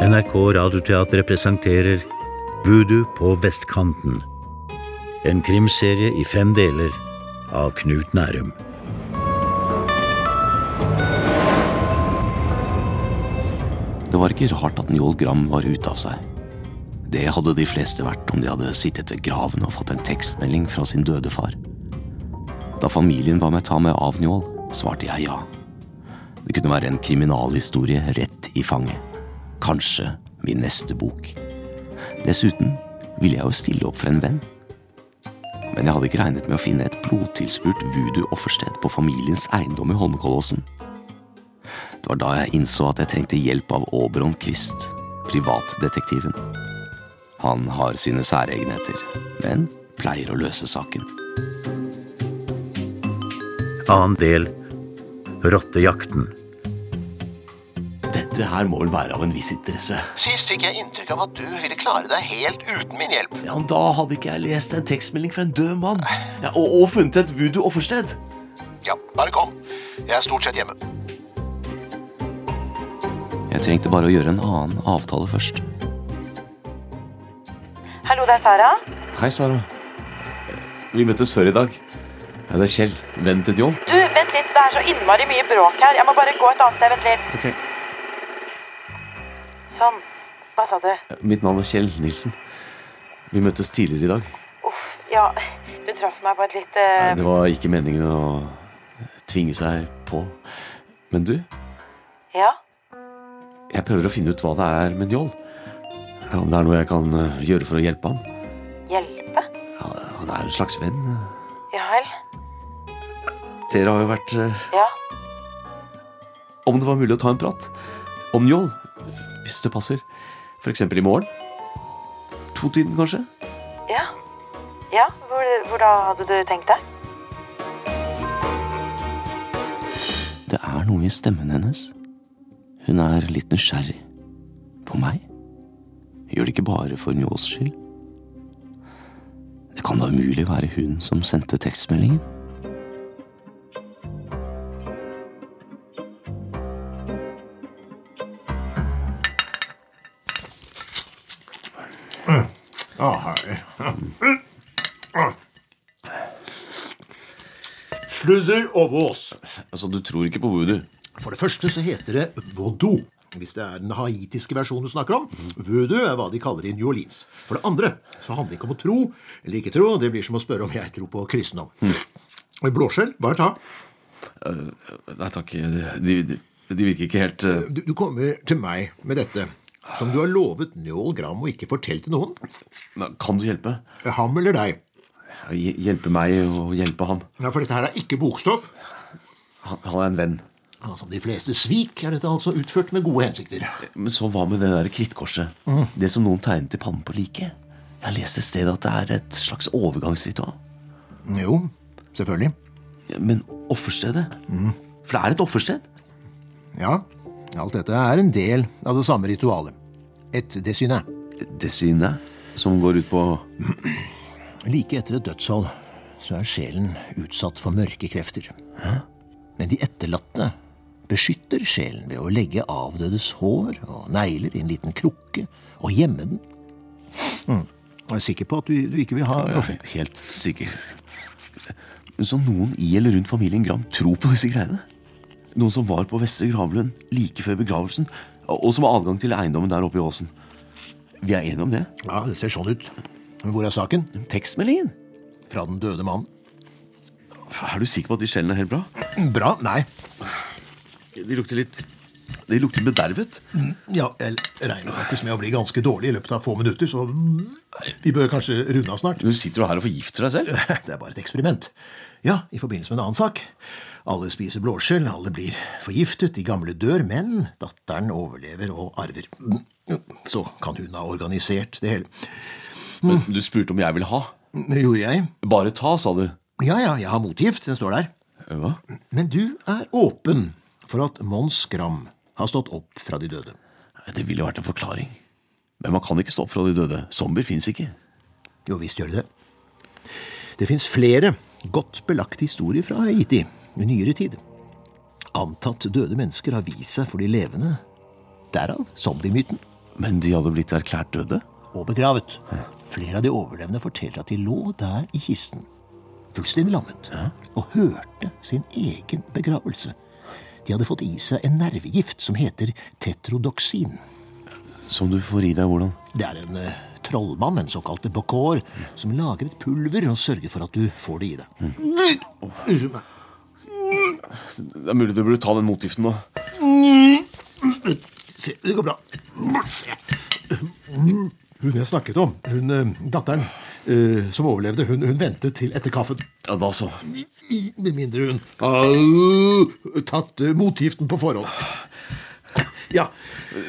NRK Radioteater presenterer Voodoo på vestkanten. En krimserie i fem deler av Knut Nærum. Det var ikke rart at Njål Gram var ute av seg. Det hadde de fleste vært om de hadde sittet ved graven og fått en tekstmelding fra sin døde far. Da familien ba meg ta meg av Njål, svarte jeg ja. Det kunne være en kriminalhistorie rett i fanget. Kanskje min neste bok. Dessuten ville jeg jo stille opp for en venn. Men jeg hadde ikke regnet med å finne et blodtilspurt voodoo-offersted på familiens eiendom i Holmenkollåsen. Det var da jeg innså at jeg trengte hjelp av Oberon Quist, privatdetektiven. Han har sine særegenheter, men pleier å løse saken. Annen del Rottejakten. Dette her må vel være av en viss interesse. Sist fikk jeg inntrykk av at du ville klare deg helt uten min hjelp. Ja, Da hadde ikke jeg lest en tekstmelding fra en død mann. Ja, og, og funnet et voodoo-offersted. Ja, bare kom. Jeg er stort sett hjemme. Jeg trengte bare å gjøre en annen avtale først. Hallo, det er Sara. Hei, Sara. Vi møttes før i dag. Ja, det er Kjell. Vennen til John. Du, vent litt. Det er så innmari mye bråk her. Jeg må bare gå et annet sted. Vent litt. Ok. Sånn. Hva sa du? Mitt navn er Kjell Nilsen. Vi møttes tidligere i dag. Uff. Ja, du traff meg på et litt eh, Det var ikke meningen å tvinge seg på. Men du, Ja? jeg prøver å finne ut hva det er med Njål. Ja, Om det er noe jeg kan eh, gjøre for å hjelpe ham. Hjelpe? Ja, han er jo en slags venn. Ja vel? Dere har jo vært eh, Ja. Om det var mulig å ta en prat om Njål, hvis det passer. For eksempel i morgen. To-tiden, kanskje? Ja. Ja, hvor, hvor da hadde du tenkt deg? Det er noe i stemmen hennes. Hun er litt nysgjerrig. På meg? Gjør det ikke bare for Njåls skyld? Det kan da umulig være hun som sendte tekstmeldingen? Sludder og vås. Altså, du tror ikke på voodoo? For det første så heter det voodoo. Hvis det er den haitiske versjonen du snakker om. Voodoo er hva de kaller i New Orleans. For det andre så handler det ikke om å tro eller ikke tro. Det blir som å spørre om jeg tror på kristendom. Hm. Og blåskjell, bare ta. Eh, Nei takk, de, de, de virker ikke helt eh, Du, du kommer til meg med dette. Som du har lovet Njål Gram å ikke fortelle til noen. men Kan du hjelpe? Ham eller deg. Hj- Hjelpe meg og hjelpe ham. Ja, For dette her er ikke bokstoff. Han, han er en venn. Ja, Som de fleste svik er dette altså utført med gode hensikter. Mm, Men så hva med det der krittkorset? Det som noen tegnet i pannen på liket? Jeg leste et sted at det er et slags overgangsritual. Jo, selvfølgelig. Men offerstedet? For det er et offersted? mm. Ja, alt dette er en del av det samme ritualet. Et desynet. Det synet som går ut på Like etter et dødsfall så er sjelen utsatt for mørke krefter. Men de etterlatte beskytter sjelen ved å legge avdødes hår og negler i en liten krukke og gjemme den. Hmm. Jeg er sikker på at du, du ikke vil ha Helt sikker. Så noen i eller rundt familien Gram tror på disse greiene? Noen som var på Vestre Gravlund like før begravelsen, og som har adgang til eiendommen der oppe i åsen. Vi er enige om det? Ja, det ser sånn ut. Men hvor er saken? Tekstmeldingen? Fra den døde mannen. Er du sikker på at de skjellene er helt bra? Bra. Nei. De lukter litt De lukter bedervet. Mm. Ja, jeg regner faktisk med å bli ganske dårlig i løpet av få minutter, så vi bør kanskje runde av snart. Du sitter jo her og forgifter deg selv. Det er bare et eksperiment. Ja, i forbindelse med en annen sak. Alle spiser blåskjell, alle blir forgiftet, de gamle dør, men datteren overlever og arver. Så kan hun ha organisert det hele. Men du spurte om jeg ville ha. Gjorde jeg? Bare ta, sa du. Ja, ja, jeg har motgift, den står der. Hva? Men du er åpen for at Mons Gram har stått opp fra de døde. Det ville vært en forklaring. Men man kan ikke stå opp fra de døde. Zombier fins ikke. Jo visst gjør det det. Det fins flere godt belagte historier fra Haiti i nyere tid. Antatt døde mennesker har vist seg for de levende. Derav zombiemyten. Men de hadde blitt erklært døde? og begravet. Flere av de overlevende forteller at de lå der i kisten, fullstendig lammet, og hørte sin egen begravelse. De hadde fått i seg en nervegift som heter tetrodoksin. Som du får i deg hvordan? Det er en eh, trollmann, en såkalt bokor, som lager et pulver og sørger for at du får det i deg. Unnskyld meg. Det er mulig du burde ta den motgiften nå. Se, det går bra. Se. Hun jeg snakket om, hun, eh, datteren eh, som overlevde, hun, hun ventet til etter kaffen. Ja, da så. I- Med mindre hun har tatt eh, motgiften på forhånd. Ja,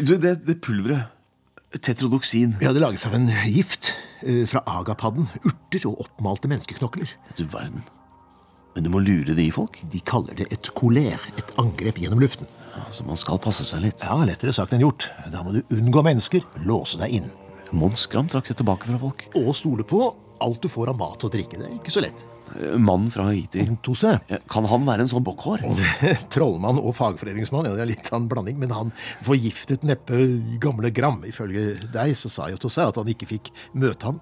Du, det, det pulveret. Tetrodoksin. vi hadde laget seg en gift eh, fra agapadden, urter og oppmalte menneskeknokler. Du verden. Men du må lure det i folk. De kaller det et koler, et angrep gjennom luften. Altså, man skal passe seg litt. Ja, lettere sagt enn gjort. Da må du unngå mennesker, låse deg inn. Mons Skram trakk seg tilbake fra folk. Og stole på alt du får av mat og drikke. Det er ikke så lett. Mm, Eh, Mannen fra Haiti. Tose, Ja, Kan han være en sånn bokkhår? trollmann og fagforeningsmann, ja, det er litt av en blanding, men han forgiftet neppe gamle Gram. Ifølge deg så sa jo Tose at han ikke fikk møte ham.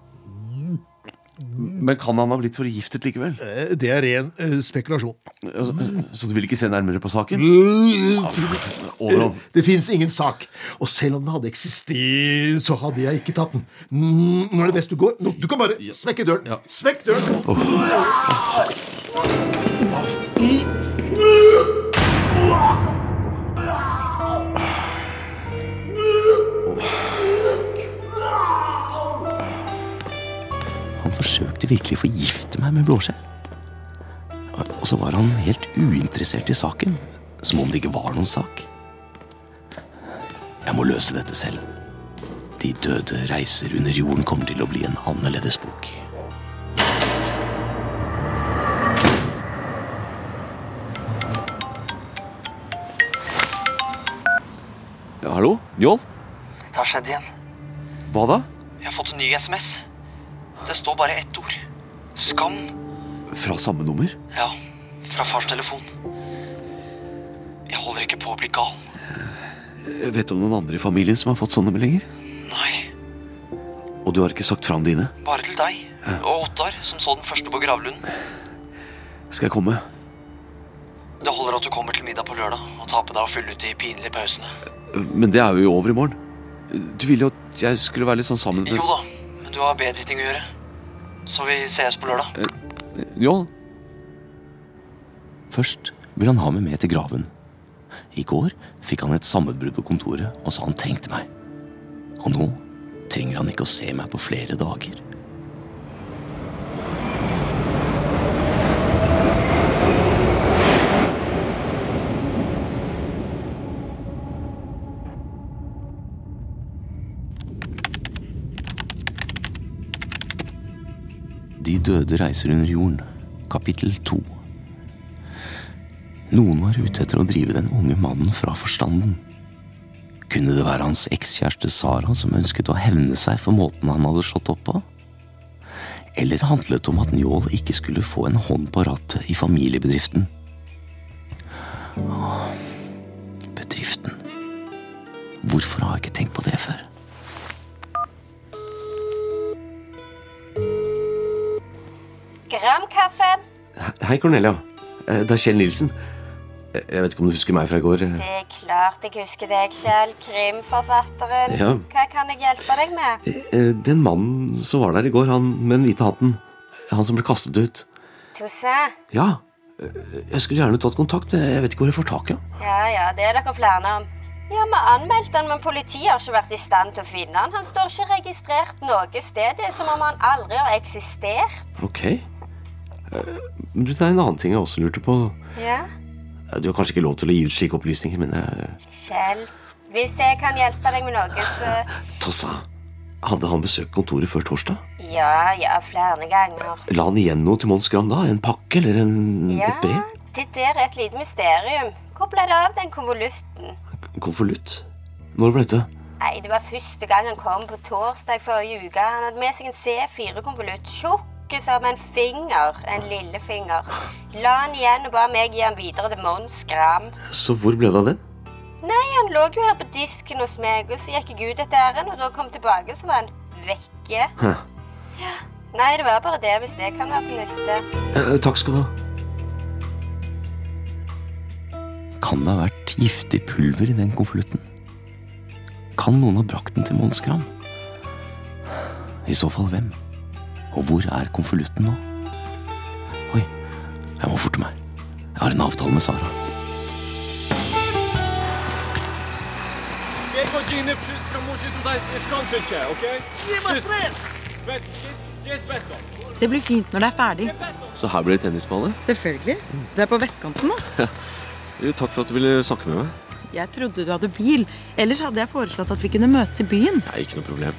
Men kan han ha blitt forgiftet likevel? Eh, Det er ren eh, spekulasjon. Altså, Så du vil ikke se nærmere på saken? Mm. Overhold. Eh, Det fins ingen sak. Og selv om den hadde eksistert, så hadde jeg ikke tatt den. Mm, Nå er det best du går. Nå, du kan bare smekke døren. Smekk døren! Han forsøkte virkelig å forgifte meg med blåskjell. Og så var han helt uinteressert i saken, som om det ikke var noen sak. Jeg må løse dette selv. De døde reiser under jorden kommer til å bli en annerledes bok. Ja, hallo? Njål? Det har skjedd igjen. Hva da? Jeg har fått en ny SMS. Det står bare ett ord. Skam. Fra samme nummer? Ja, fra fars telefon. Jeg holder ikke på å bli gal. Jeg Eh, vet om noen andre i familien som har fått sånne meldinger. Nei, Og du har ikke sagt fra om dine. bare til deg og Ottar, som så den første på gravlunden. Skal jeg komme? Det holder at du kommer til middag på lørdag og tar på deg å fylle ut de pinlige pausene. Men det er jo over i morgen. Du ville jo at jeg skulle være litt sånn sammen Jo da, men du har bedre ting å gjøre. Så vi ses på lørdag. Njål? Først vil han ha meg med til graven. I går fikk han et sammenbrudd på kontoret og sa han trengte meg. Og nå trenger han ikke å se meg på flere dager. De døde reiser under jorden, kapittel to. Noen var ute etter å drive den unge mannen fra forstanden. Kunne det være hans ekskjæreste Sara som ønsket å hevne seg for måten han hadde slått opp på? Eller handlet det om at Njål ikke skulle få en hånd på rattet i familiebedriften? Åh, Bedriften. Hvorfor har jeg ikke tenkt på det før? Gramkaffen. Hei, Cornelia. Eh, Det er Kjell Nilsen. Eh, Jeg vet ikke om du husker meg fra i går? eh? Det er klart jeg husker deg, Kjell. Krimforfatteren. Ja. Hva kan jeg hjelpe deg med? Eh, Den mannen som var der i går, han med den hvite hatten. Han som ble kastet ut. Tosse? Ja. eh, Jeg skulle gjerne tatt kontakt. Jeg vet ikke hvor jeg får tak i ham. Ja, ja, det er dere flere om. Ja, Vi anmeldte han, men politiet har ikke vært i stand til å finne han. Han står ikke registrert noe sted. Det er som om han aldri har eksistert. Ok. Eh, men du, Det er en annen ting jeg også lurte på. Ja. Eh, Du har kanskje ikke lov til å gi ut slike opplysninger, men eh, jeg Kjell, hvis jeg kan hjelpe deg med noe, så Tossa, hadde han besøkt kontoret før torsdag? Ja, ja, flere ganger. La han igjen noe til Mons Gram da? En pakke eller en, et brev? det der er et lite mysterium. Hvor ble det av den konvolutten? Konvolutt? Når ble dette? Nei, det var første gang han kom på torsdag forrige uke. Han hadde med seg en C4-konvolutt, tjukk som en finger, en lillefinger. La han igjen og ba meg gi han videre til Mons Gram. Så hvor ble det av den? Nei, han lå jo her på disken hos meg, og så gikk jeg ut etter æren, og da jeg kom tilbake, så var han vekke. Hæ. Ja. Nei, det var bare det, hvis det kan være til nytte. Eh, Takk skal du ha. Kan det ha vært giftig pulver i den konvolutten? Kan noen ha brakt den til Mons Gram? I så fall hvem? Og hvor er konvolutten nå? Oi, jeg må forte meg. Jeg har en avtale med Sara. Dwie godziny wszystko musi tutaj skończyć się, okej? Nie ma stref! Gdzie gdzie jest beton? Det blir fint når det er ferdig. Så her blir det tennisballe? Selvfølgelig. Mm. Du er på vestkanten nå. Takk for at du ville snakke med meg. Jeg trodde du hadde bil. Ellers hadde jeg foreslått at vi kunne møtes i byen. Nei, ikke noe problem.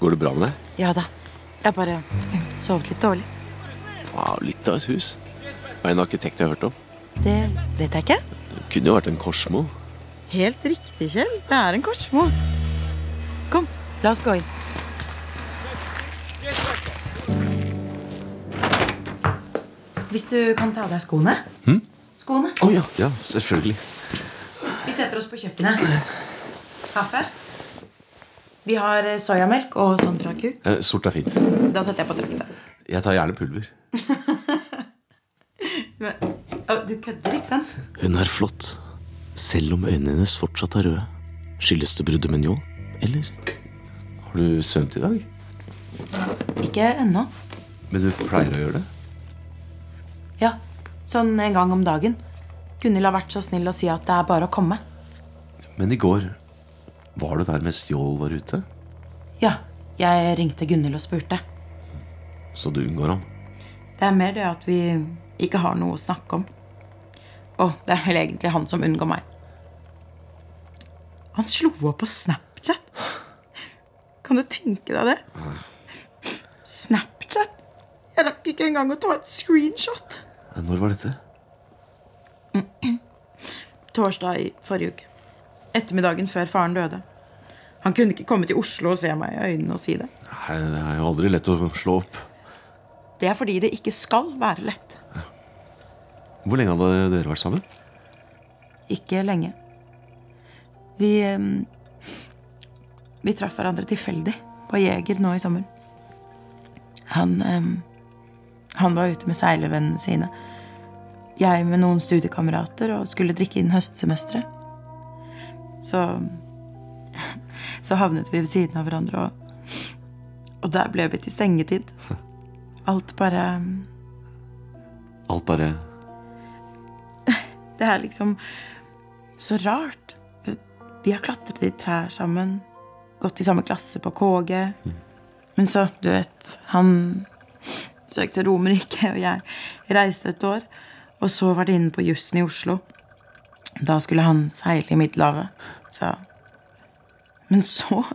Går det bra med deg? Ja da. Jeg bare sovet litt dårlig. Wow, litt av et hus. Og en arkitekt jeg har hørt om. Det vet jeg ikke. Kunne jo vært en Korsmo. Helt riktig, Kjell. Det er en Korsmo. Kom, la oss gå inn. Hvis du kan ta av deg skoene. Skoene. Å ja, ja, selvfølgelig. Vi setter oss på kjøkkenet. Kaffe. Vi har eh, soyamelk og sånn fra ku. Eh, Sort er fint. Da setter jeg på trakta. Jeg tar gjerne pulver. Men- Å, Du kødder, ikke sant? Hun er flott. Selv om øynene hennes fortsatt er røde. Skyldes det bruddet med njål? Eller har du svømt i dag? Ikke ennå. Men du pleier å gjøre det? Ja, sånn en gang om dagen. Gunhild har vært så snill å si at det er bare å komme. Men i går var du der mens Njål var ute, Ja, jeg ringte Gunhild og spurte. så du unngår ham. Det er mer det at vi ikke har noe å snakke om. Og det er vel egentlig han som unngår meg. Han slo opp på Snapchat. Kan du tenke deg det? Snapchat? Jeg rakk ikke engang å ta et screenshot. Eh, Når var dette? Torsdag i forrige uke. Ettermiddagen før faren døde. Han kunne ikke komme til Oslo og se meg i øynene og si det. Nei, det er jo aldri lett å slå opp. Det er fordi det ikke skal være lett. Hvor lenge hadde dere vært sammen? Ikke lenge. Vi eh, Vi traff hverandre tilfeldig på Jeger nå i sommer. Han eh, Han var ute med seilervennene sine. Jeg med noen studiekamerater og skulle drikke inn høstsemesteret. Så Så havnet vi ved siden av hverandre, og Og der ble vi til sengetid. Alt bare Alt bare Det er liksom så rart. Vi har klatret i trær sammen, gått i samme klasse på KG. Men så, du vet Han søkte Romerike, og jeg reiste et år. Og så var det inne på jussen i Oslo. Da skulle han seile i Middelhavet, så Men så,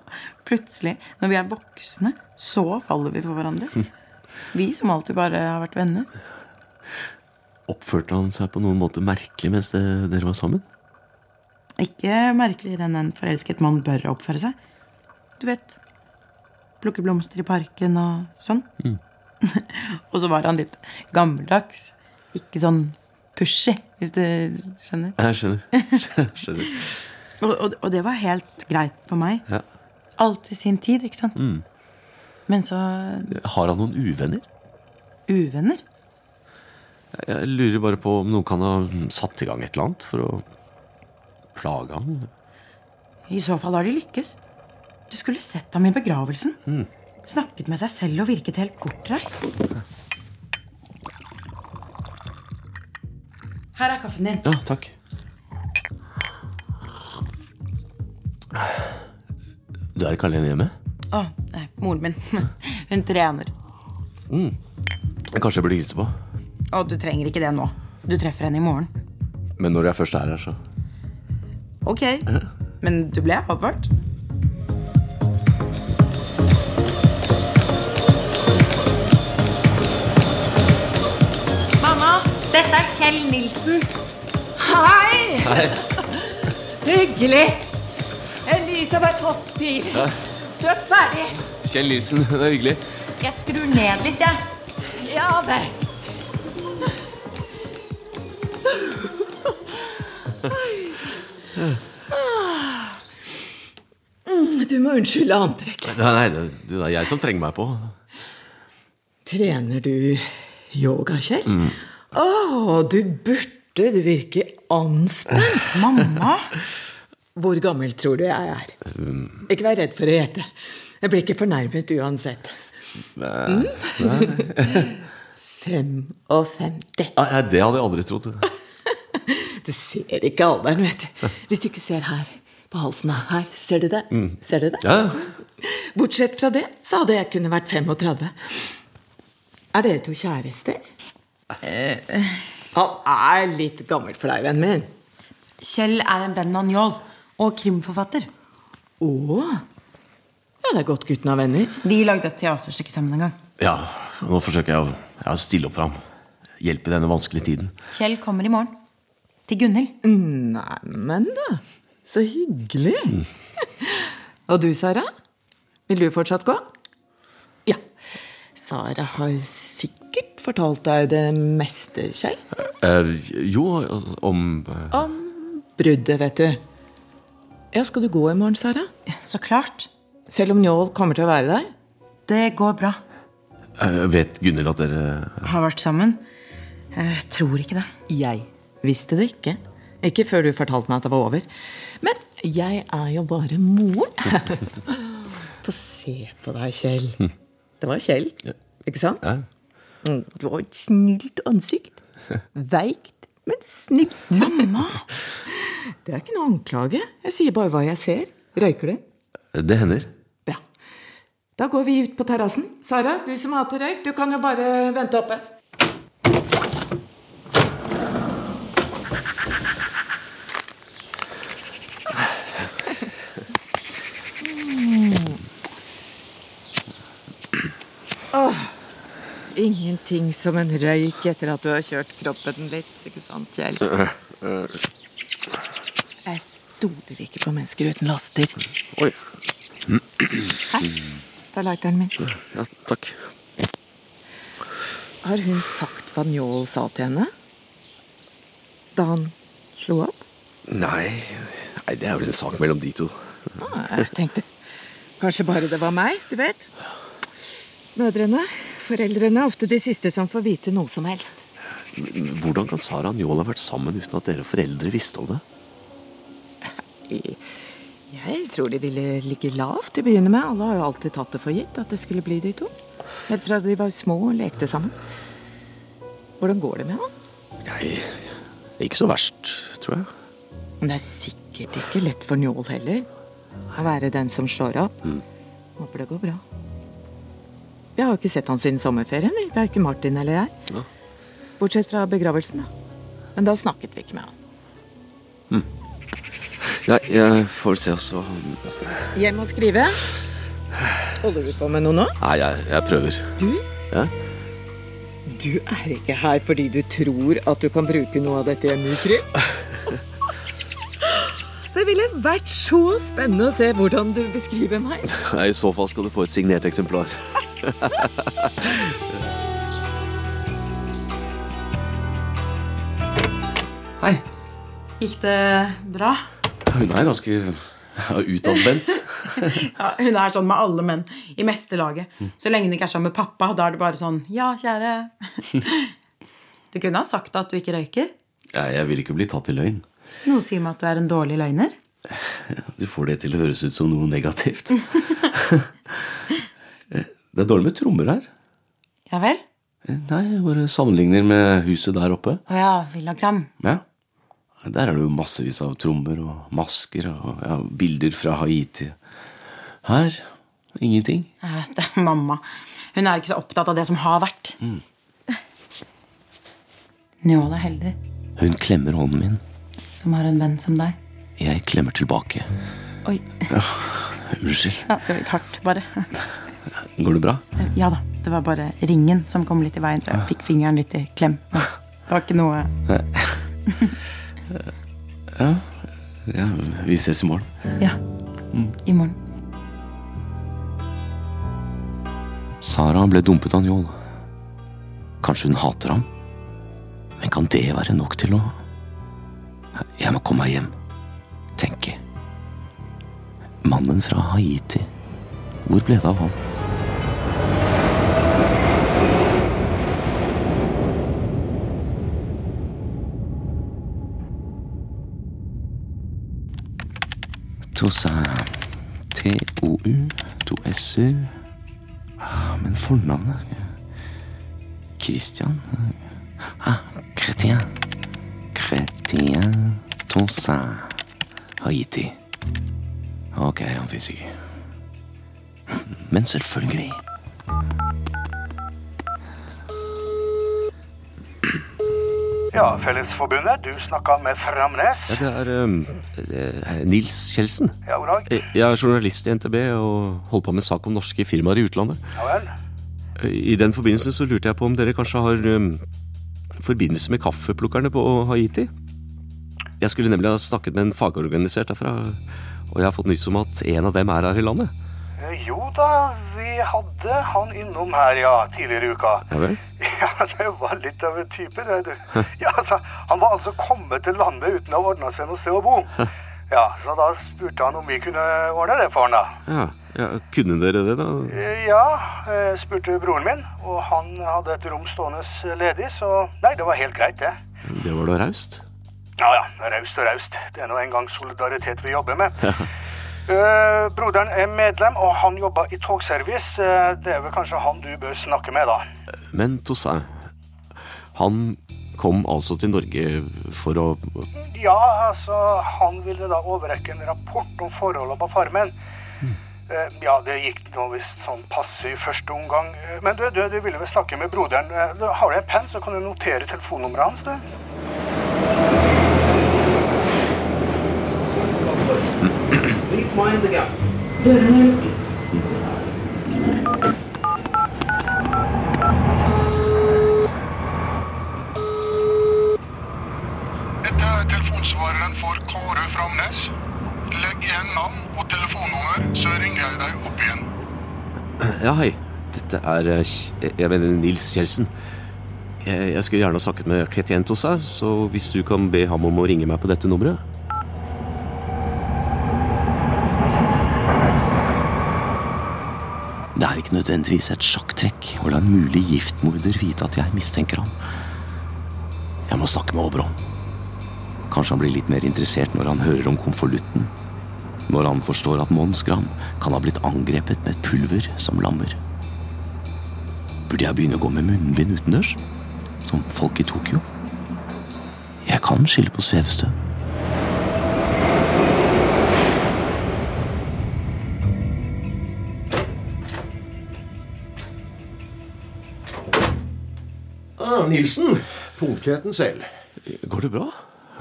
plutselig, når vi er voksne, så faller vi for hverandre. Vi som alltid bare har vært venner. Oppførte han seg på noen måte merkelig mens det, dere var sammen? Ikke merkeligere enn en forelsket mann bør oppføre seg. Du vet Plukke blomster i parken og sånn. og så var han litt gammeldags. Ikke sånn pushy, hvis du skjønner. Jeg skjønner. skjønner. Og, og, og det var helt greit for meg. Ja. Mm. Alt i sin tid, ikke sant? Men så Har han noen uvenner? uvenner. Jeg lurer bare på om noen kan ha satt i gang et eller annet for å plage ham. I så fall har de lykkes. Du skulle sett ham i begravelsen. Snakket med seg selv og virket helt bortreist. Her er kaffen din. Ja, takk. Du er ikke alene hjemme? Å, nei, moren min. Hun trener. Kanskje jeg burde hilse på? Og du trenger ikke det nå. Du treffer henne i morgen. Men når jeg først er her, så Ok, men du ble advart. Mamma, dette er Kjell Nilsen. Hei! Hyggelig. Elisabeth Hoffpil. Straks ferdig. Kjell Nilsen, det er hyggelig. Jeg skrur ned litt, jeg. Ja vel. Du må unnskylde antrekket. Nei, nei, det, det er jeg som trenger meg på. Trener du yoga, Kjell? Mm. Å, du burde. Du virker anspent. Mamma! Hvor gammel tror du jeg er? Mm. Ikke vær redd for å gjette. Jeg blir ikke fornærmet uansett. Mm? Nei, nei. 55. Nei, det hadde jeg aldri trodd. Du ser ikke alderen, vet du. Hvis du ikke ser her på halsen her. her. Ser du det? Mm. Ser du det? Ja. Bortsett fra det så hadde jeg kunnet vært 35. Er dere to kjærester? Han er litt gammel for deg, vennen min. Kjell er en benmanjol og krimforfatter. Å? Ja, det er godt gutten har venner. De lagde et teaterstykke sammen en gang. Ja, nå forsøker jeg å ja, stille opp for ham. Hjelpe i denne vanskelige tiden. Kjell kommer i morgen. Til Gunhild. Neimen, da. Så hyggelig. Og du, Sara? Vil du fortsatt gå? Ja. Sara har sikkert fortalt deg det meste, Kjell. Eh, jo, om eh, Om bruddet, vet du. Ja, skal du gå i morgen, Sara? Så klart. Selv om Njål kommer til å være der? Det går bra. eh, Vet Gunhild at dere Har vært sammen. Eh, Jeg tror ikke det. Jeg visste det ikke. Ikke før du fortalte meg at det var over. Men jeg er jo bare moren. Få se på deg, Kjell. Det var Kjell, ikke sant? Ja. Mm, Du har et snilt ansikt. Veikt, men snilt. Mamma! Det er ikke noe anklage. Jeg sier bare hva jeg ser. Røyker du? Det hender. Da går vi ut på terrassen. Sara, du som hater røyk, du kan jo bare vente oppe. Åh, ingenting som en røyk etter at du har kjørt kroppen litt, ikke sant, Kjell? Jeg stoler ikke på mennesker uten laster. Oi. Hæ? Det er lighteren min. Ja, takk. Har hun sagt hva Njål sa til henne? Da han slo opp? Nei, nei, det er vel en sak mellom de to. Ah, jeg tenkte kanskje bare det var meg, du vet. Mødrene, foreldrene, er ofte de siste som får vite noe som helst. Hvordan kan Sara og Njål ha vært sammen uten at dere foreldre visste om det? Jeg tror de ville ligge lavt til å begynne med. Alle har jo alltid tatt det for gitt at det skulle bli de to. Helt fra de var små og lekte sammen. Hvordan går det med han? Nei, ikke så verst, tror jeg. Men det er sikkert ikke lett for Njål heller. Å være den som slår opp. Håper det går bra. Vi har jo ikke sett han siden sommerferien, vi. Verken Martin eller jeg. Ja. Bortsett fra begravelsen, da. Men da snakket vi ikke med han. Nei, jeg får se også. Hjem og skrive. Holder du på med noe nå? Nei, jeg, jeg prøver. Du? Ja? Du er ikke her fordi du tror at du kan bruke noe av dette hjemme i krim? Det ville vært så spennende å se hvordan du beskriver meg. Nei, I så fall skal du få et signert eksemplar. Hei. Gikk det bra? Hun er ganske utadvendt. Ja, hun er sånn med alle menn i meste laget. Så lenge hun ikke er sammen med pappa, da er det bare sånn Ja, kjære. Du kunne ha sagt at du ikke røyker. Nei, Jeg vil ikke bli tatt i løgn. Noe sier meg at du er en dårlig løgner. Du får det til å høres ut som noe negativt. Eh, Det er dårlig med trommer her. Eh, Ja vel? Nei, jeg bare sammenligner med huset der oppe. Å ja, Villagram. Ja. Der er det jo massevis av trommer og masker og ja, bilder fra Haiti. Her ingenting. Eh, Det er mamma. Hun er ikke så opptatt av det som har vært. Mm. Njål er heldig Hun klemmer hånden min. som har en venn som deg. Jeg klemmer tilbake. Oi. Ja, unnskyld. Ja, det var litt hardt, bare. Går det bra? Eh, Ja da. Det var bare ringen som kom litt i veien, så jeg fikk fingeren litt i klem. Det var ikke noe Nei. Ja, ja vi ses i morgen. Ja. I morgen. Sara ble dumpet av Njål. Kanskje hun hater ham? Men kan det være nok til å Jeg må komme meg hjem. Tenke. Mannen fra Haiti. Hvor ble det av han? Toussaint. T-O-U, to s-er Ah, Men fornavnet Christian? Ah, Chrétien. Chrétien Toussaint. Haiti. Ok, han fins ikke. Men selvfølgelig. Ja, Fellesforbundet, du snakka med Framnes. Ja, det er um, eh, Nils Kjeldsen. Ja, god dag. Eh, Jeg er journalist i NTB og holder på med sak om norske firmaer i utlandet. Ja vel. Eh, I den forbindelse så lurte jeg på om dere kanskje har um, forbindelse med kaffeplukkerne på Haiti? Jeg skulle nemlig ha snakket med en fagorganisert derfra, og jeg har fått nyss om at en av dem er her i landet. Eh, Jo da, vi hadde han innom her, ja, tidligere i uka. Ja vel? Ja, det var litt av en type, det, du. Ja, altså, han var altså kommet til landet uten å ha ordna seg noe sted å bo. Ja, så da spurte han om vi kunne ordne det for han, da. Ja, ja, Kunne dere det, da? Eh, Ja, eh, spurte broren min, og han hadde et rom stående ledig, så Nei, det var helt greit, det. Det var da raust. Ja ja, raust og raust. Det er nå engang solidaritet vi jobber med. Ja. Eh, broderen er medlem, og han jobber i togservice. Eh, det er vel kanskje han du bør snakke med, da. Men Toussaint, han kom altså til Norge for å Ja, altså, han ville da overrekke en rapport om forholdene på farmen. Eh, ja, det gikk nå visst sånn passe i første omgang. Eh, men du, du, du ville vel snakke med broderen. Eh, du, har du en penn, så kan du notere telefonnummeret hans, du. Please mind the gap. Dette er telefonsvareren for Kåre Framnes. Legg igjen navn og telefonnummer, så ringer jeg deg opp igjen. Ja, hei. Dette er eh, Kj- Jeg mener Nils Kjeldsen. Jeg jeg skulle gjerne ha snakket med Ketien Toussaint, så hvis du kan be ham om å ringe meg på dette nummeret Det er ikke nødvendigvis et sjakktrekk å la en mulig giftmorder vite at jeg mistenker ham. Jeg må snakke med Oberon. Kanskje han blir litt mer interessert når han hører om konvolutten. Når han forstår at Mons Gram kan ha blitt angrepet med et pulver som lammer. Burde jeg begynne å gå med munnbind utendørs? Som folk i Tokyo? Jeg kan skylde på svevestøv. Ah, Nilsen. Punktligheten selv. Går det bra?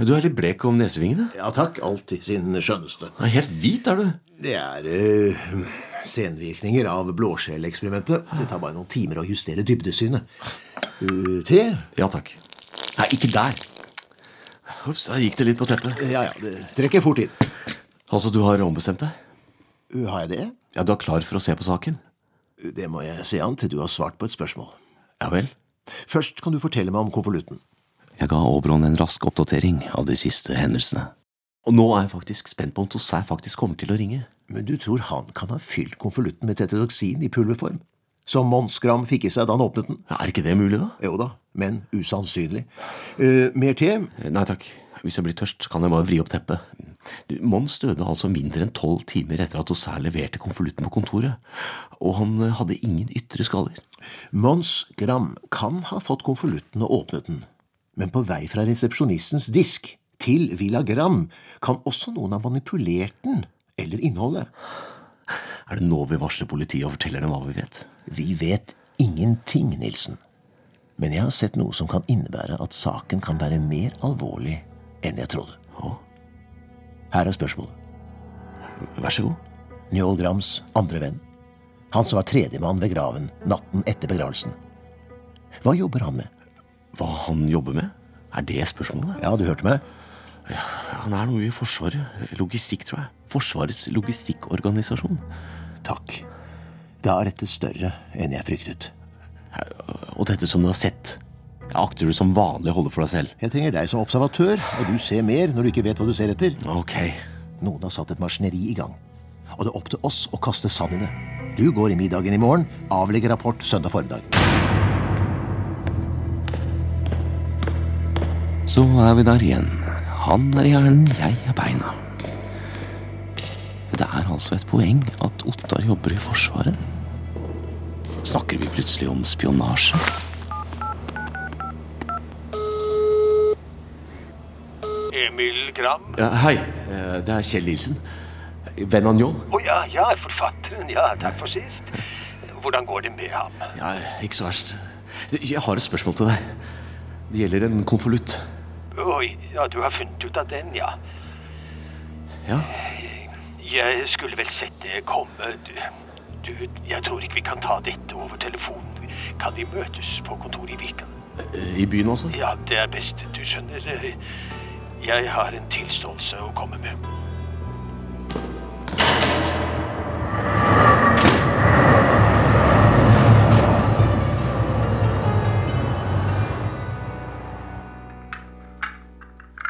Du er litt blek om nesevingene. Ja takk. Alltid sin skjønneste. Nei, helt hvit er du. Det er eh, senvirkninger av blåskjelleksperimentet. Det tar bare noen timer å justere dybdesynet. Eh, te? Ja takk. Nei, ikke der. Ops, der gikk det litt på teppet. Eh, Ja, ja, det trekker fort inn. Altså, du har ombestemt deg? Eh, Har jeg det? Ja, Du er klar for å se på saken? Eh, Det må jeg se an til du har svart på et spørsmål. Ja vel? Først kan du fortelle meg om konvolutten. Jeg ga Oberon en rask oppdatering av de siste hendelsene. Og nå er jeg faktisk spent på om Toussaint faktisk kommer til å ringe. Men du tror han kan ha fylt konvolutten med tetrodoksin i pulverform? Som Mons Gram fikk i seg da han åpnet den? Er ikke det mulig, da? Jo da, men usannsynlig. Eh, mer te? Nei takk. Hvis jeg blir tørst, kan jeg bare vri opp teppet. Du, Mons døde altså mindre enn tolv timer etter at Toussaint leverte konvolutten på kontoret, og han eh, hadde ingen ytre skader. Mons Gram kan ha fått konvolutten og åpnet den, men på vei fra resepsjonistens disk til Villa Gram kan også noen ha manipulert den eller innholdet. Er det nå vi varsler politiet og forteller dem hva vi vet? Vi vet ingenting, Nilsen. Men jeg har sett noe som kan innebære at saken kan være mer alvorlig enn jeg trodde. Her er spørsmålet. Vær så god. Njål Grams andre venn. Han som var tredjemann ved graven natten etter begravelsen. Hva jobber han med? Hva han jobber med? Er det spørsmålet? Ja, du hørte meg. Han er noe i Forsvaret. Logistikk, tror jeg. Forsvarets logistikkorganisasjon. Takk. Da er dette større enn jeg fryktet. Og dette som du har sett, akter du som vanlig å holde for deg selv? Jeg trenger deg som observatør, og du ser mer når du ikke vet hva du ser etter. Ok. Noen har satt et maskineri i gang. og det er opp til oss å kaste sand i det. Du går i middagen i morgen, avlegger rapport søndag formiddag. Så er vi der igjen. Han er hjernen, jeg er beina. Det er altså et poeng at Ottar jobber i Forsvaret. Snakker vi plutselig om spionasje? Emil Gram? Ja, hei, eh, det er Kjell Nilsen. Venn av Njål. Å ja, ja, forfatteren. Ja, takk for sist. Hvordan går det med ham? Ja, ikke så verst. Du, Jeg har et spørsmål til deg. Det gjelder en konvolutt. Oi, ja, du har funnet ut av den, ja. Ja. Jeg skulle vel sett det komme. Du, du, jeg tror ikke vi kan ta dette over telefonen. Kan vi møtes på kontoret i Vika? Eh, I byen også? Ja, det er best. Du skjønner, eh, jeg har en tilståelse å komme med.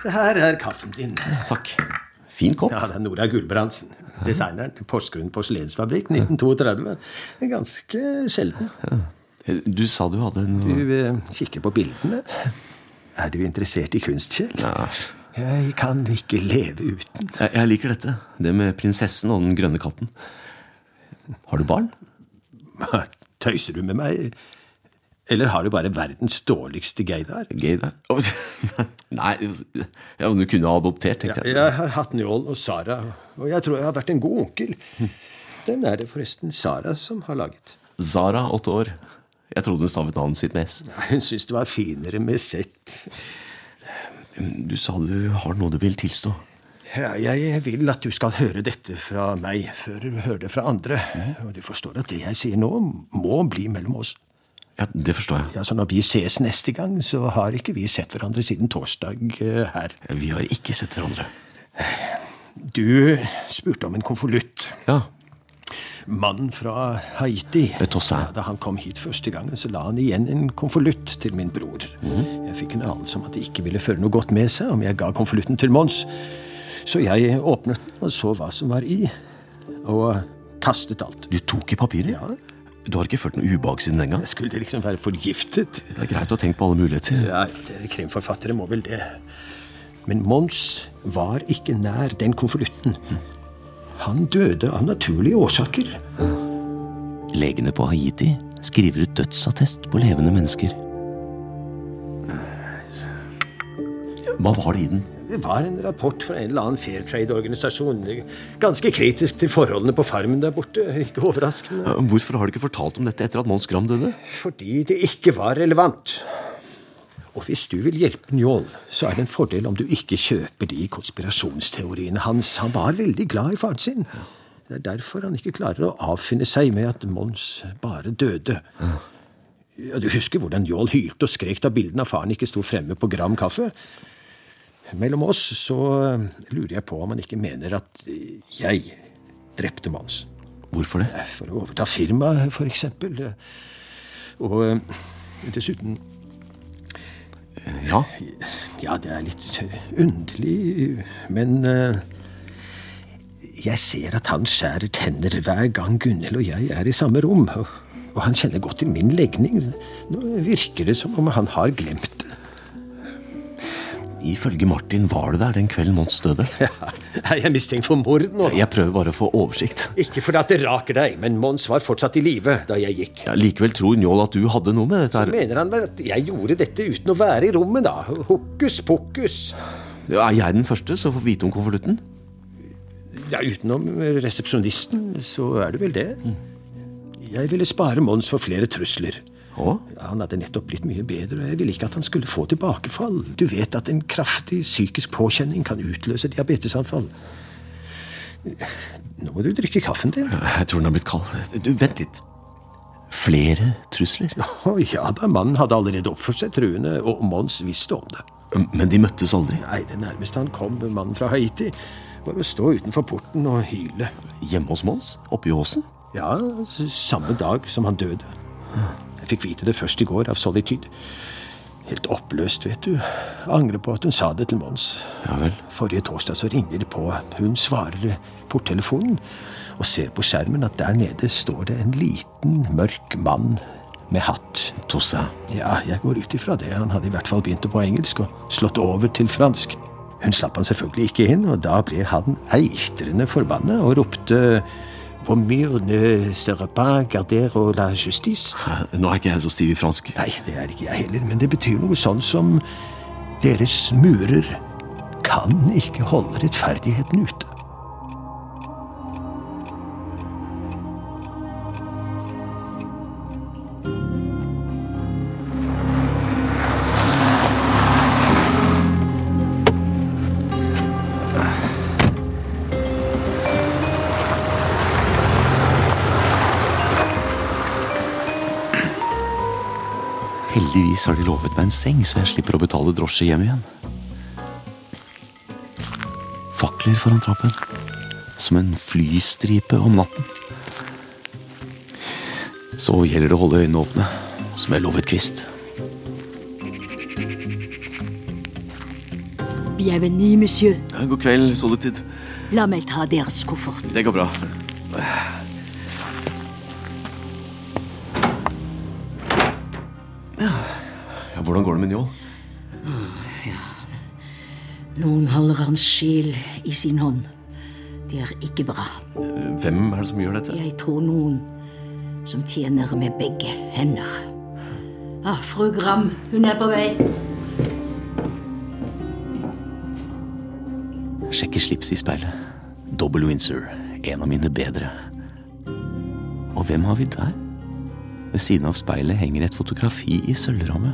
Så her er kaffen din. Takk. Fin kopp. Ja, det er Nora Gulbrandsen. Designeren. Porsgrunn porselensfabrikk, 1932. Det er Ganske sjelden. Eh, Du sa du hadde en Du eh, kikker på bildene. Er du interessert i kunst, Kjell? Jeg kan ikke leve uten. Jeg, jeg liker dette. Det med prinsessen og den grønne katten. Har du barn? Tøyser du med meg? Eller har du bare verdens dårligste gaydar? Gaydar? Nei, ja, men du kunne ha adoptert, Ja, tenkte jeg. jeg har hatt Njål og Sara, og jeg tror jeg har vært en god onkel. Den er det forresten Sara som har laget. Zara, åtte år. Jeg trodde hun stavet navnet sitt med S. Hun syntes det var finere med Z. Du sa du har noe du vil tilstå. Ja, jeg vil at du skal høre dette fra meg før du hører det fra andre. Mm. Og du forstår at det jeg sier nå, må bli mellom oss. Ja, Det forstår jeg. Ja, Så når vi ses neste gang, så har ikke vi sett hverandre siden torsdag eh, her. Vi har ikke sett hverandre. Du spurte om en konvolutt. Ja. Eh, Mannen fra Haiti. Tossin. Ja, da han kom hit første gangen, så la han igjen en konvolutt til min bror. Mhm. Jeg fikk en anelse om at det ikke ville føre noe godt med seg om jeg ga konvolutten til Mons. Så jeg åpnet den og så hva som var i, og kastet alt. Du tok i papiret? Ja. Du har ikke følt noe ubehag siden den gang? Jeg skulle liksom være forgiftet. Det er greit å tenke på alle muligheter. Ja, dere krimforfattere må vel det. Men Mons var ikke nær den konvolutten. Han døde av naturlige årsaker. Legene på Haiti skriver ut dødsattest på levende mennesker. Hva var det i den? Det var en rapport fra en eller annen fair trade-organisasjon. Ganske kritisk til forholdene på farmen der borte. Ikke overraskende. Hvorfor har du ikke fortalt om dette etter at Mons Gram døde? Fordi det ikke var relevant. Og hvis du vil hjelpe Njål, så er det en fordel om du ikke kjøper de konspirasjonsteoriene hans. Han var veldig glad i faren sin. Det er derfor han ikke klarer å avfinne seg med at Mons bare døde. Ja, du husker hvordan Njål hylte og skrek da bildene av faren ikke sto fremme på Gram kaffe? Mellom oss så eh, lurer jeg på om han ikke mener at eh, jeg drepte Mons. Hvorfor det? For å overta firmaet, for eksempel. Eh, Og eh, dessuten Eh, Ja? Ja, det er litt eh, underlig, men eh, Jeg ser at han skjærer tenner hver gang Gunhild og jeg er i samme rom. Og, og han kjenner godt til min legning. Nå virker det som om han har glemt det. Ifølge Martin var du der den kvelden Mons døde. Er jeg mistenkt for mord nå? Jeg prøver bare å få oversikt. Ikke fordi at det raker deg, men Mons var fortsatt i live da jeg gikk. Ja, likevel tror Njål at du hadde noe med dette Så her. mener han vel at jeg gjorde dette uten å være i rommet, da. Hokus pokus. Ja, Er jeg den første som får vite om konvolutten? Ja, Utenom resepsjonisten, så er det vel det. Jeg ville spare Mons for flere trusler. Ja, han hadde nettopp blitt mye bedre, og jeg ville ikke at han skulle få tilbakefall. Du vet at en kraftig psykisk påkjenning kan utløse diabetesanfall. Nå må du drikke kaffen din. Jeg tror den har blitt kald. Du, Vent litt. Flere trusler? Å ja da, mannen hadde allerede oppført seg truende, og Mons visste om det. Men de møttes aldri? Nei, det nærmeste han kom mannen fra Haiti, var å stå utenfor porten og hyle. Hjemme hos Mons? Oppe i åsen? Ja, s- samme dag som han døde. Jeg fikk vite det først i går av Solitude. Helt oppløst, vet du. Jeg angrer på at hun sa det til Mons. Ja vel. Forrige torsdag så ringer det på. Hun svarer porttelefonen. og ser på skjermen at der nede står det en liten, mørk mann med hatt. Tosse. Ja, jeg går ut ifra det. Han hadde i hvert fall begynt på engelsk og slått over til fransk. Hun slapp han selvfølgelig ikke inn, og da ble han eitrende forbanna og ropte Hvor mur ne sera pas gardero la justice? Nå er ikke jeg så stiv i fransk. Nei, det er ikke jeg heller, men det betyr noe sånn som Deres murer kan ikke holde rettferdigheten ute. Heldigvis har de lovet meg en seng, så jeg slipper å betale drosje hjem igjen. Fakler foran trappen. Som en flystripe om natten. Så gjelder det å holde øynene åpne, som jeg lovet Kvist. Bienvenue, monsieur. God kveld, Solitude. La meg ta deres koffert. Det går bra. Ah, Ja, hvordan går det med Njål? Noen holder hans sjel i sin hånd. Det er ikke bra. Hvem er det som gjør dette? Jeg tror noen som tjener med begge hender. Ah, fru Gram, hun er på vei. Jeg Sjekker slipset i speilet. Double Windsor. En av mine bedre. Og hvem har vi der? Ved siden av speilet henger et fotografi i sølvramme.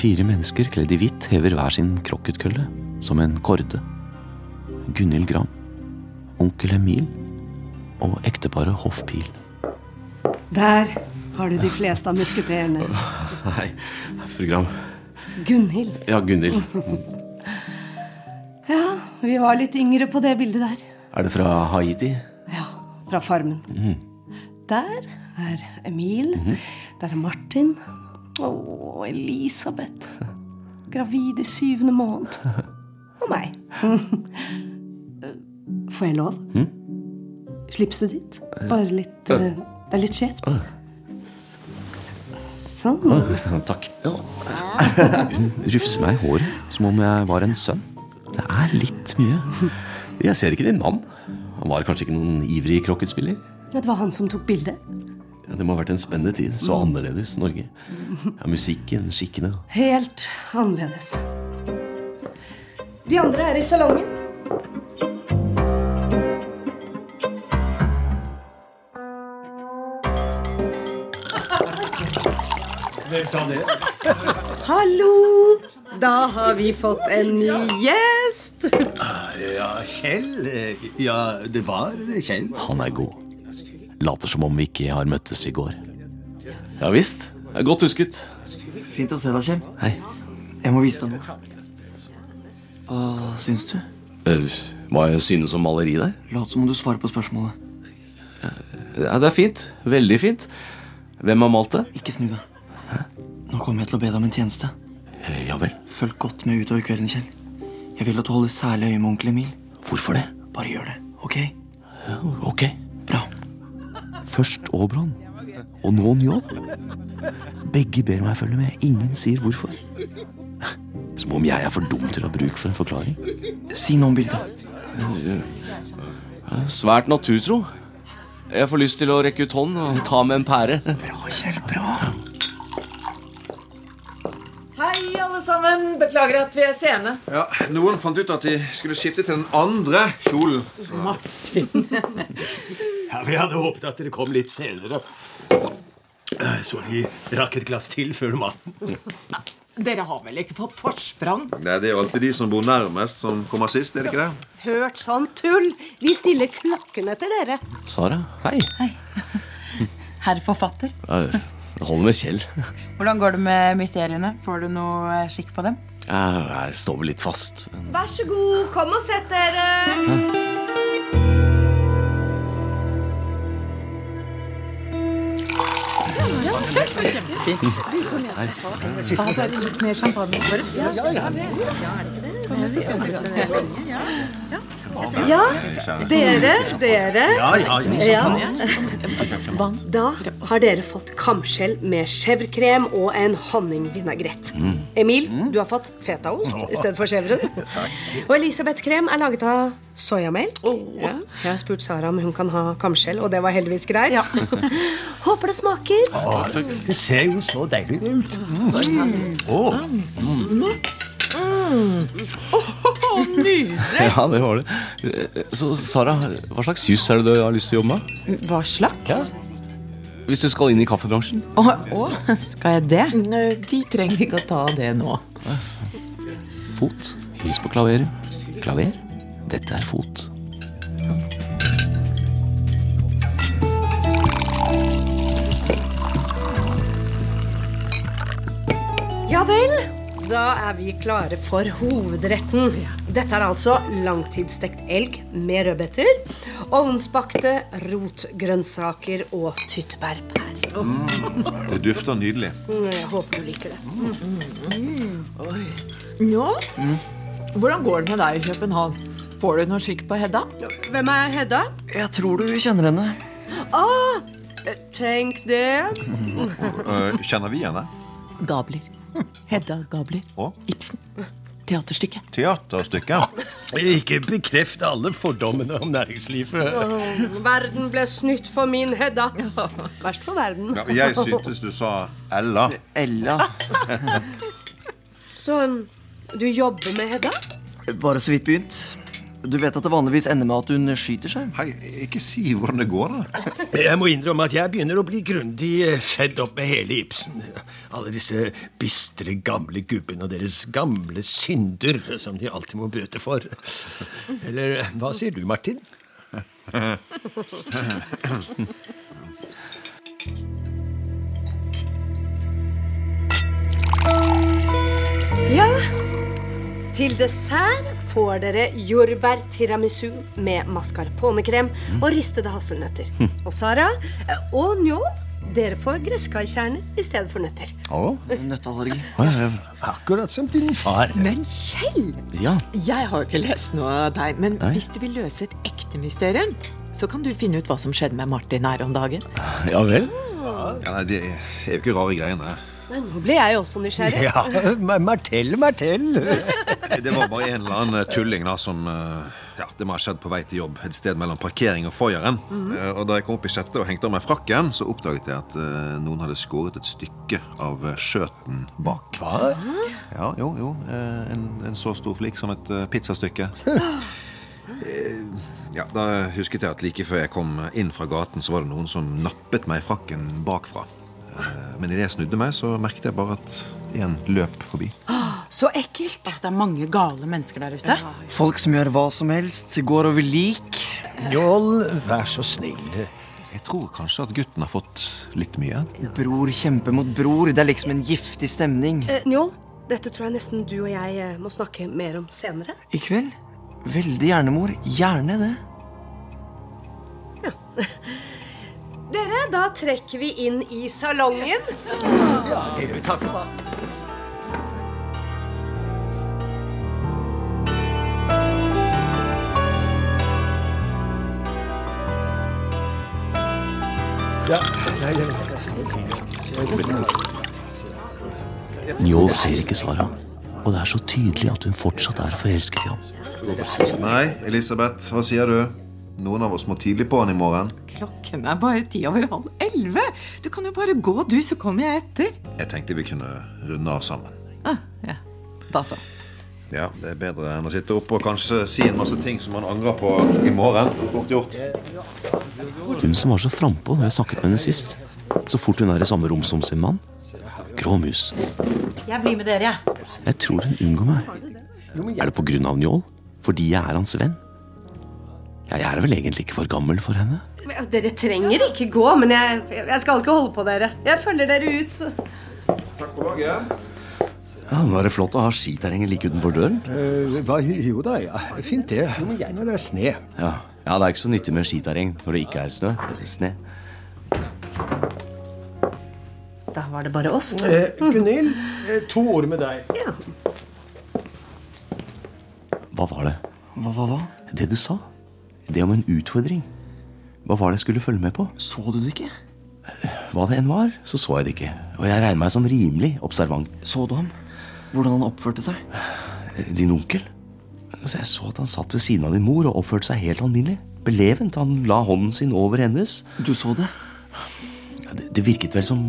Fire mennesker kledd i hvitt hever hver sin krokketkølle, som en korde. Gunhild Gram, onkel Emil og ekteparet Hoffpil. Der har du de fleste av musketerene. Hei, fru Gram. Gunhild. Ja, Gunhild. Ja, vi var litt yngre på det bildet der. Er det fra Haiti? Ja, fra Farmen. Mm. Der er Emil. Mhm. Der er Martin. Å, Elisabeth. Gravid i syvende måned. Og meg. Får jeg lov? Mhm. Slipset ditt? Bare litt eh, Det er litt skjevt. Ah. Sånn. Takk. Hun rufser meg i håret som om jeg var en sønn. Det er litt mye. Jeg ser ikke din mann. Han var kanskje ikke noen ivrig krokketspiller? Ja, det var han som tok bildet. Ja, det må ha vært en spennende tid. Så annerledes Norge. Ja, musikken, skikkene Helt annerledes. De andre er i salongen. Hvem sa det? Hallo! Da har vi fått en ny gjest. Ja, Kjell. Ja, det var Kjell. Han er god. Later som om vi ikke har møttes i går. Ja visst. Det er Godt husket. Fint å se deg, Kjell. Hei. Jeg må vise deg noe. Hva syns du? Øh, Hva jeg synes om maleri der? Lat som om du svarer på spørsmålet. Ja, det er fint. Veldig fint. Hvem har malt det? Ikke snu deg. Nå kommer jeg til å be deg om en tjeneste. Eh, Ja vel. Følg godt med utover kvelden, Kjell. Jeg vil at du holder særlig øye med onkel Emil. Hvorfor det? Bare gjør det, ok? Ok. Bra. Først Aabron, og nå Njål. Begge ber meg følge med. Ingen sier hvorfor. Som om jeg er for dum til å ha bruk for en forklaring. Si noe om bildet. Svært naturtro. Jeg får lyst til å rekke ut hånd og ta med en pære. Bra, Kjell. Bra. Hei, alle sammen. Beklager at vi er sene. Ja, Noen fant ut at de skulle skifte til den andre kjolen. Ja, Vi hadde håpet at dere kom litt senere. Så de rakk et glass til før maten. Dere har vel ikke fått forsprang? Nei, Det er jo alltid de som bor nærmest, som kommer sist. er det ikke det? Hørt sånn tull. Vi stiller klokken etter dere. Sara, hei. Herr forfatter, Ja, Det holder med Kjell. hvordan går det med mysteriene? Får du noe eh, skikk på dem? Jeg jeg står vel litt fast. Vær så god, kom og sett dere. Ja, det er litt mer champagne. Ja, ja, ja. Ja, dere, dere. Ja, ja, ja. Da har dere fått kamskjell med chèvrekrem og en honningvinagrett. Mm. Emil, du har fått fetaost i stedet for chèvren. Og Elisabeths krem er laget av soyamelk. Ja. Jeg har spurt Sara om hun kan ha kamskjell, og det var heldigvis greit. Håper det smaker. Det ser jo så deilig ut. Mm. Å. Mm. Åh, nydelig! Ja, det var det. Så Sara, hva slags juss er det du har lyst til å jobbe med? Hva slags? Hvis du skal inn i kaffebransjen? Å, å, skal jeg det? Vi trenger ikke å ta det nå. Fot. Hils på klaveret. Klaver. Dette er fot. Ja vel. Da er vi klare for hovedretten. Dette er altså langtidsstekt elg med rødbeter, ovnsbakte rotgrønnsaker og tyttebærpær. Mm. Det dufter nydelig. Jeg håper du liker det. Mm, Oi. Ja, hvordan går det med deg i København? Får du noe skikk på Hedda? Hvem er Hedda? Jeg tror du kjenner henne. Å, Ah, tenk det. Eh, Kjenner vi henne? Gabler. Hedda Gabler. Ibsen. Teaterstykket. Teaterstykket? Ikke bekreft alle fordommene om næringslivet. Åh, Verden ble snytt for min Hedda. Verst for verden. Ja, jeg syntes du sa Ella. Ella. Så um, du jobber med Hedda? Bare så vidt begynt. Du vet at det vanligvis ender med at hun skyter seg? Hei, ikke si hvordan det går, da. Jeg må innrømme at jeg begynner å bli grundig eh, fedd opp med hele Ibsen. Alle disse bistre, gamle gubbene og deres gamle synder som de alltid må bøte for. Eller eh, hva sier du, Martin? Ja. Til dessert får dere jordbær tiramisu med mascarponekrem og ristede hasselnøtter. Og Sara eh, og Njål, dere får gresskarkjerner i stedet for nøtter. Nøtteallergi. Akkurat som din far. Men Kjell, Ja. jeg har jo ikke lest noe av deg. Men Nei. hvis du vil løse et ekte mysterium, så kan du finne ut hva som skjedde med Martin her om dagen. Ja vel? Ja, nei, det er jo ikke rare greiene. Nei, nå ble jeg også nysgjerrig. Ja, Martell, Martell. Det var bare en eller annen tulling da, som eh, ja, Det må ha skjedd på vei til jobb et sted mellom parkering og foyeren. Mhm. Eh, Og Da jeg kom opp i sjette og hengte av meg frakken, så oppdaget jeg at eh, noen hadde skåret et stykke av eh, skjøten bak. Hva? Ja, jo, jo. eh, En, en så stor flik som et eh, pizzastykke. Eh, Ja, Da husket jeg at like før jeg kom inn fra gaten, så var det noen som nappet meg i frakken bakfra. Eh, Men idet jeg snudde meg, så merket jeg bare at en løp forbi. Så ekkelt. Ah, det er mange gale mennesker der ute. Folk som gjør hva som helst, går over lik. Njål, vær så snill. Jeg tror kanskje at gutten har fått litt mye. Bror kjemper mot bror. Det er liksom en giftig stemning. Eh, Njål, dette tror jeg nesten du og jeg eh, må snakke mer om senere. I kveld? Veldig gjerne, mor. Gjerne det. Dere, da trekker vi inn i salongen. Ja, det gjør vi. Takk for maten. Ja, nei, jeg vet ikke. Njål ser ikke Sara, og det er så tydelig at hun fortsatt er forelsket i ham. Nei, Elisabeth, hva sier du? Noen av oss må tidlig på han i morgen. Klokken er bare ti over halv elleve. Du kan jo bare gå, du, så kommer jeg etter. Jeg tenkte vi kunne runde av sammen. Ah, ja. Da så. Ja, Det er bedre enn å sitte oppe og kanskje si en masse ting som man angrer på i morgen. Fort gjort. Hun som var så frampå da jeg snakket med henne sist. Så fort hun er i samme rom som sin mann. Grå mus. Jeg blir med dere, jeg. Jeg tror hun unngår meg. Er det på grunn av Njål? Fordi jeg er hans venn? Ja, jeg er vel egentlig ikke for gammel for henne. Dere trenger ikke gå, men jeg, jeg skal ikke holde på dere. Jeg følger dere ut. Så. Takk for laget. Ja, Nå er det flott å ha skiterrenget like utenfor døren. Eh, hva, jo da, ja. Fint det. Når det er sne. Ja. ja, det er ikke så nyttig med skiterreng når det ikke er snø. Sne. Da var det bare oss. Eh, Gunhild, eh, to ord med deg. Hva var det? Hva, hva, hva? Det du sa, det om en utfordring. Hva var det jeg skulle følge med på? Så du det ikke? Hva det enn var, så så jeg det ikke. Og jeg regner meg som rimelig observant. Så du ham? Hvordan han oppførte seg? Eh, Din onkel? Så jeg så at han satt ved siden av din mor og oppførte seg helt alminnelig. Belevent. Han la hånden sin over hennes. Du så det? Ja, Det, det virket vel som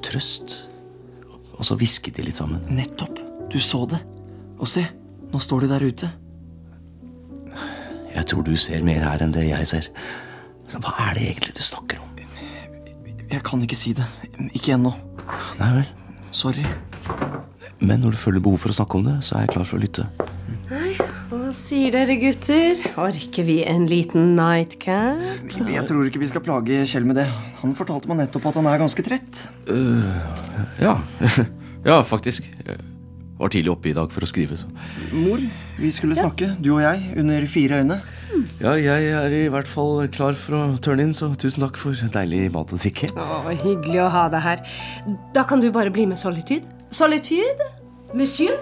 trøst. Og så hvisket de litt sammen. Nettopp. Du så det. Og se, nå står de der ute. Jeg tror du ser mer her enn det jeg ser. Så Hva er det egentlig du snakker om? Jeg kan ikke si det. Ikke ennå. Nei vel. Sorry. Men når du føler behov for å snakke om det, så er jeg klar for å lytte. Nei, hva sier dere gutter? Orker vi en liten nightcap? Jeg tror ikke vi skal plage Kjell med det. Han fortalte meg nettopp at han er ganske trett. Øh. ja. ja, faktisk. Jeg var tidlig oppe i dag for å skrive. Så. Mor, vi skulle snakke, du og jeg, under fire øyne. Ja, jeg er i hvert fall klar for å turne inn, så tusen takk for deilig mat og drikke. Å, hyggelig å ha deg her. Da kan du bare bli med Solitude. Solitude? Monsieur?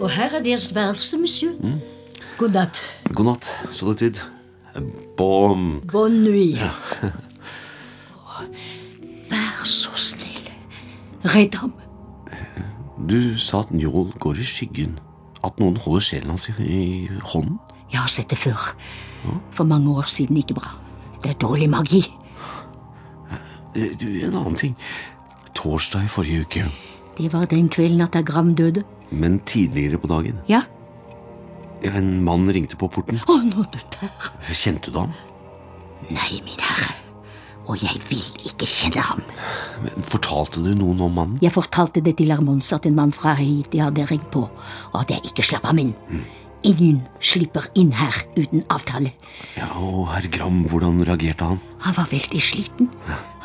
Og her er deres værelse, monsieur. Mm. God natt. God natt, solitude. Bom. Bonne nuit. Ja. Vær så snill. Redd ham. Du sa at Njål går i skyggen. At noen holder sjelen hans i, i hånden. Jeg har sett det før. For mange år siden ikke bra. Det er dårlig magi. Eh, Du, en annen ting. Torsdag i forrige uke, Det var den kvelden at Agram døde. men tidligere på dagen. Ja. Ja, En mann ringte på porten. Å, nå du der. Kjente du ham? Nei, min herre. Og jeg vil ikke kjenne ham. Men Fortalte du noen om mannen? Jeg fortalte det til Hermons at en mann fra Haiti hadde ringt på, og at jeg ikke slapp ham inn. Ingen slipper inn her uten avtale. Ja, og herr Gram, hvordan reagerte han? Han var veldig sliten.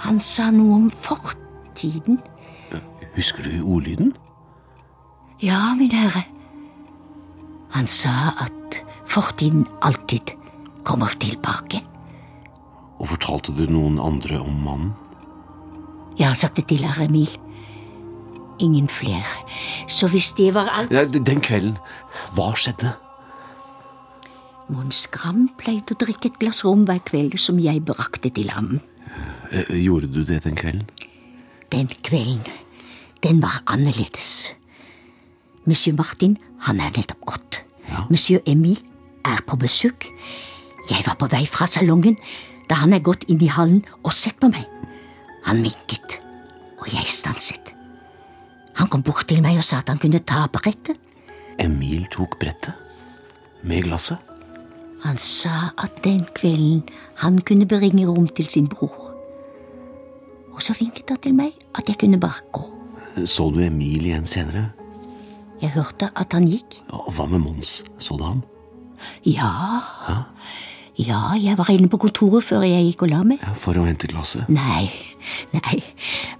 Han sa noe om fortiden. Husker du ordlyden? Ja, min herre. Han sa at fortiden alltid kommer tilbake. Og fortalte du noen andre om mannen? Jeg har sagt det til herr Emil. Ingen flere. Så hvis det var alt Ja, d- den kvelden. Hva skjedde? Mons Gram pleide å drikke et glass rom hver kveld som jeg brakte til ham. Eh, Gjorde du det den kvelden? Den kvelden, den var annerledes. Monsieur Martin, han er nettopp gått. Monsieur Emil er på besøk. Jeg var på vei fra salongen da han er gått inn i hallen og sett på meg. Han vinket, og jeg stanset. Han kom bort til meg og sa at han kunne ta brettet. Emil tok brettet. Med glasset. Han sa at den kvelden han kunne bringe rom til sin bror. Og så vinket han til meg at jeg kunne bare gå. Så du Emil igjen senere? Jeg hørte at han gikk. Ja, og Hva med Mons? Så du ham? Ja. Ja, jeg var inne på kontoret før jeg gikk og la meg. Ja, For å hente glasset? Nei, nei,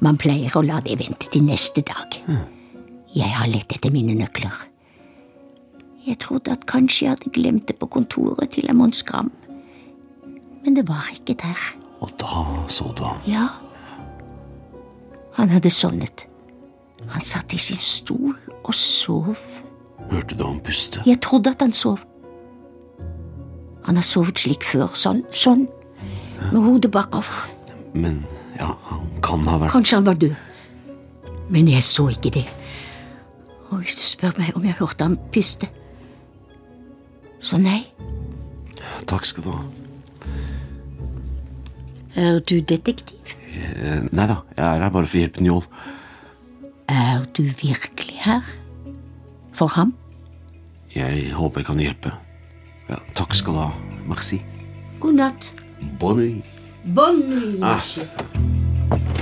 man pleier å la det vente til neste dag. Jeg har lett etter mine nøkler. Jeg trodde at kanskje jeg hadde glemt det på kontoret til en Mons Gram. Men det var ikke der. Og da så du ham. Ja, han hadde sovnet. Han satt i sin stol og sov. Hørte du ham puste? Jeg trodde at han sov. Han har sovet slik før, sånn, sånn, med hodet bakover. Men ja, han kan ha vært Kanskje han var død. Men jeg så ikke det. Og hvis du spør meg om jeg hørte ham puste Så nei. Takk skal du ha. Er du detektiv? Eh, Nei da, jeg er her bare for å hjelpe Njål. Er du virkelig her? For ham? Jeg håper jeg kan hjelpe. Ja, takk skal du ha. Merci. God natt. Bonne nuit. Bonne nuit, Ah. monsieur.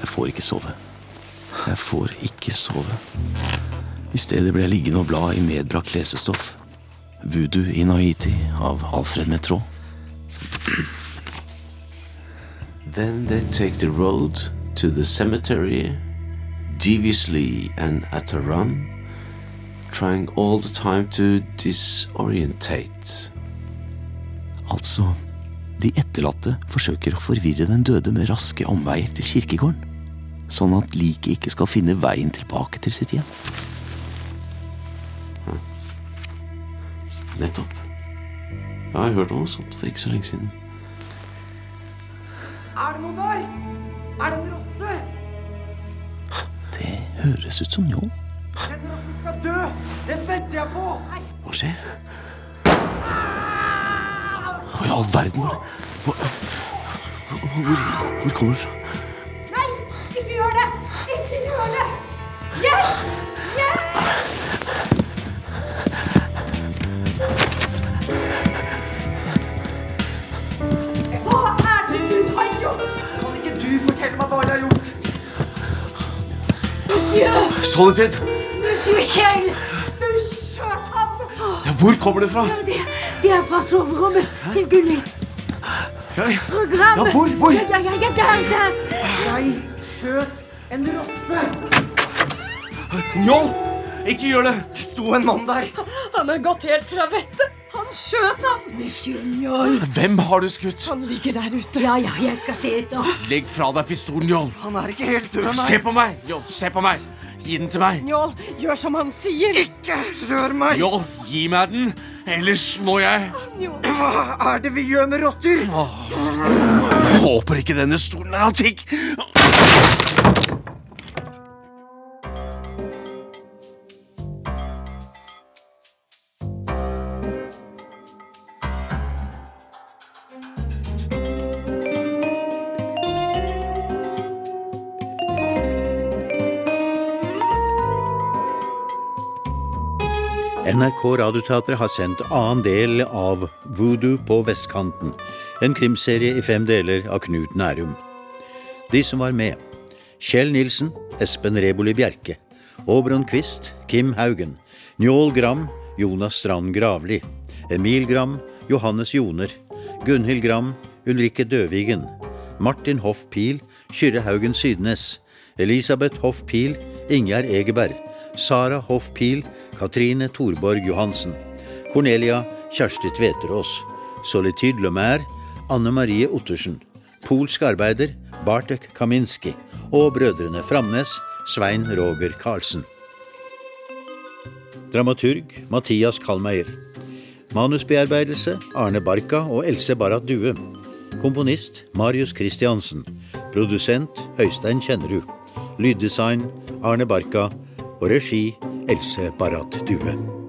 Jeg får ikke sove. Jeg får ikke sove. I stedet ble jeg liggende og bla i medbrakt lesestoff. Voodoo in Haiti av Alfred Metraa. Then they take the road to the cemetery, deviously and at a run, trying all the time to disorientate. Altså, de etterlatte forsøker å forvirre den døde med raske omveier til kirkegården, sånn at liket ikke skal finne veien tilbake til sitt hjem. Ja. Hm. Nettopp. Jeg har hørt om noe sånt for ikke så lenge siden. Er det noen der? Er det en rotte? Det høres ut som Njål. Den rotten skal dø! Den venter jeg på! Hva skjer? Hva i all verden var det? Hva, hvor, hvor kommer det fra? Nei, ikke gjør det! Ikke gjør det! Hjelp! Hjelp! Hva er det du har gjort? Kan ikke du fortelle meg hva du har gjort? Monsieur! Solitude! Monsieur Kjell! Du skjøt ham! Ja, hvor kommer det fra? Det, det er fra soverommet til Gunnhild. Ja, ja. Fru Gram! Ja, hvor, hvor? Ja, ja, ja, ja, der, der! Jeg skjøt en rotte. Njål! Ikke gjør det! Det sto en mann der. Han er gått helt fra vettet. Han skjøt ham. Monsieur Njol. Hvem har du skutt? Han ligger der ute. Ja, ja, jeg skal se etter. Legg fra deg pistolen, Njål. Han er ikke helt død, Se på meg! Njål, se på meg! Gi den til meg. Njål, gjør som han sier. Ikke rør meg. Njål, gi meg den, ellers må jeg Hva er det vi gjør med rotter? Håper ikke denne stolen er antikk. NRK Radioteatret har sendt annen del av Voodoo på vestkanten, en krimserie i fem deler av Knut Nærum. De som var med Kjell Nilsen, Espen Reboli Bjerke, Åbron Quist, Kim Haugen, Njål Gram, Jonas Strand Gravli, Emil Gram, Johannes Joner, Gunhild Gram, Ulrikke Døvigen, Martin Hoff Pil, Kyrre Haugen Sydnes, Elisabeth Hoff Pil, Ingjerd Egeberg, Sara Hoff Pil, Katrine Thorborg Johansen. Cornelia Kjersti Tveterås. Solitude Lemaire Anne Marie Ottersen. Polsk arbeider Bartek Kaminski. Og brødrene Framnes Svein Roger Karlsen. Dramaturg Mathias Kallmeier. Manusbearbeidelse Arne Barka og Else Barrat Due. Komponist Marius Christiansen. Produsent Høystein Kjennerud. Lyddesign Arne Barka. Og regi Else Barrat Due.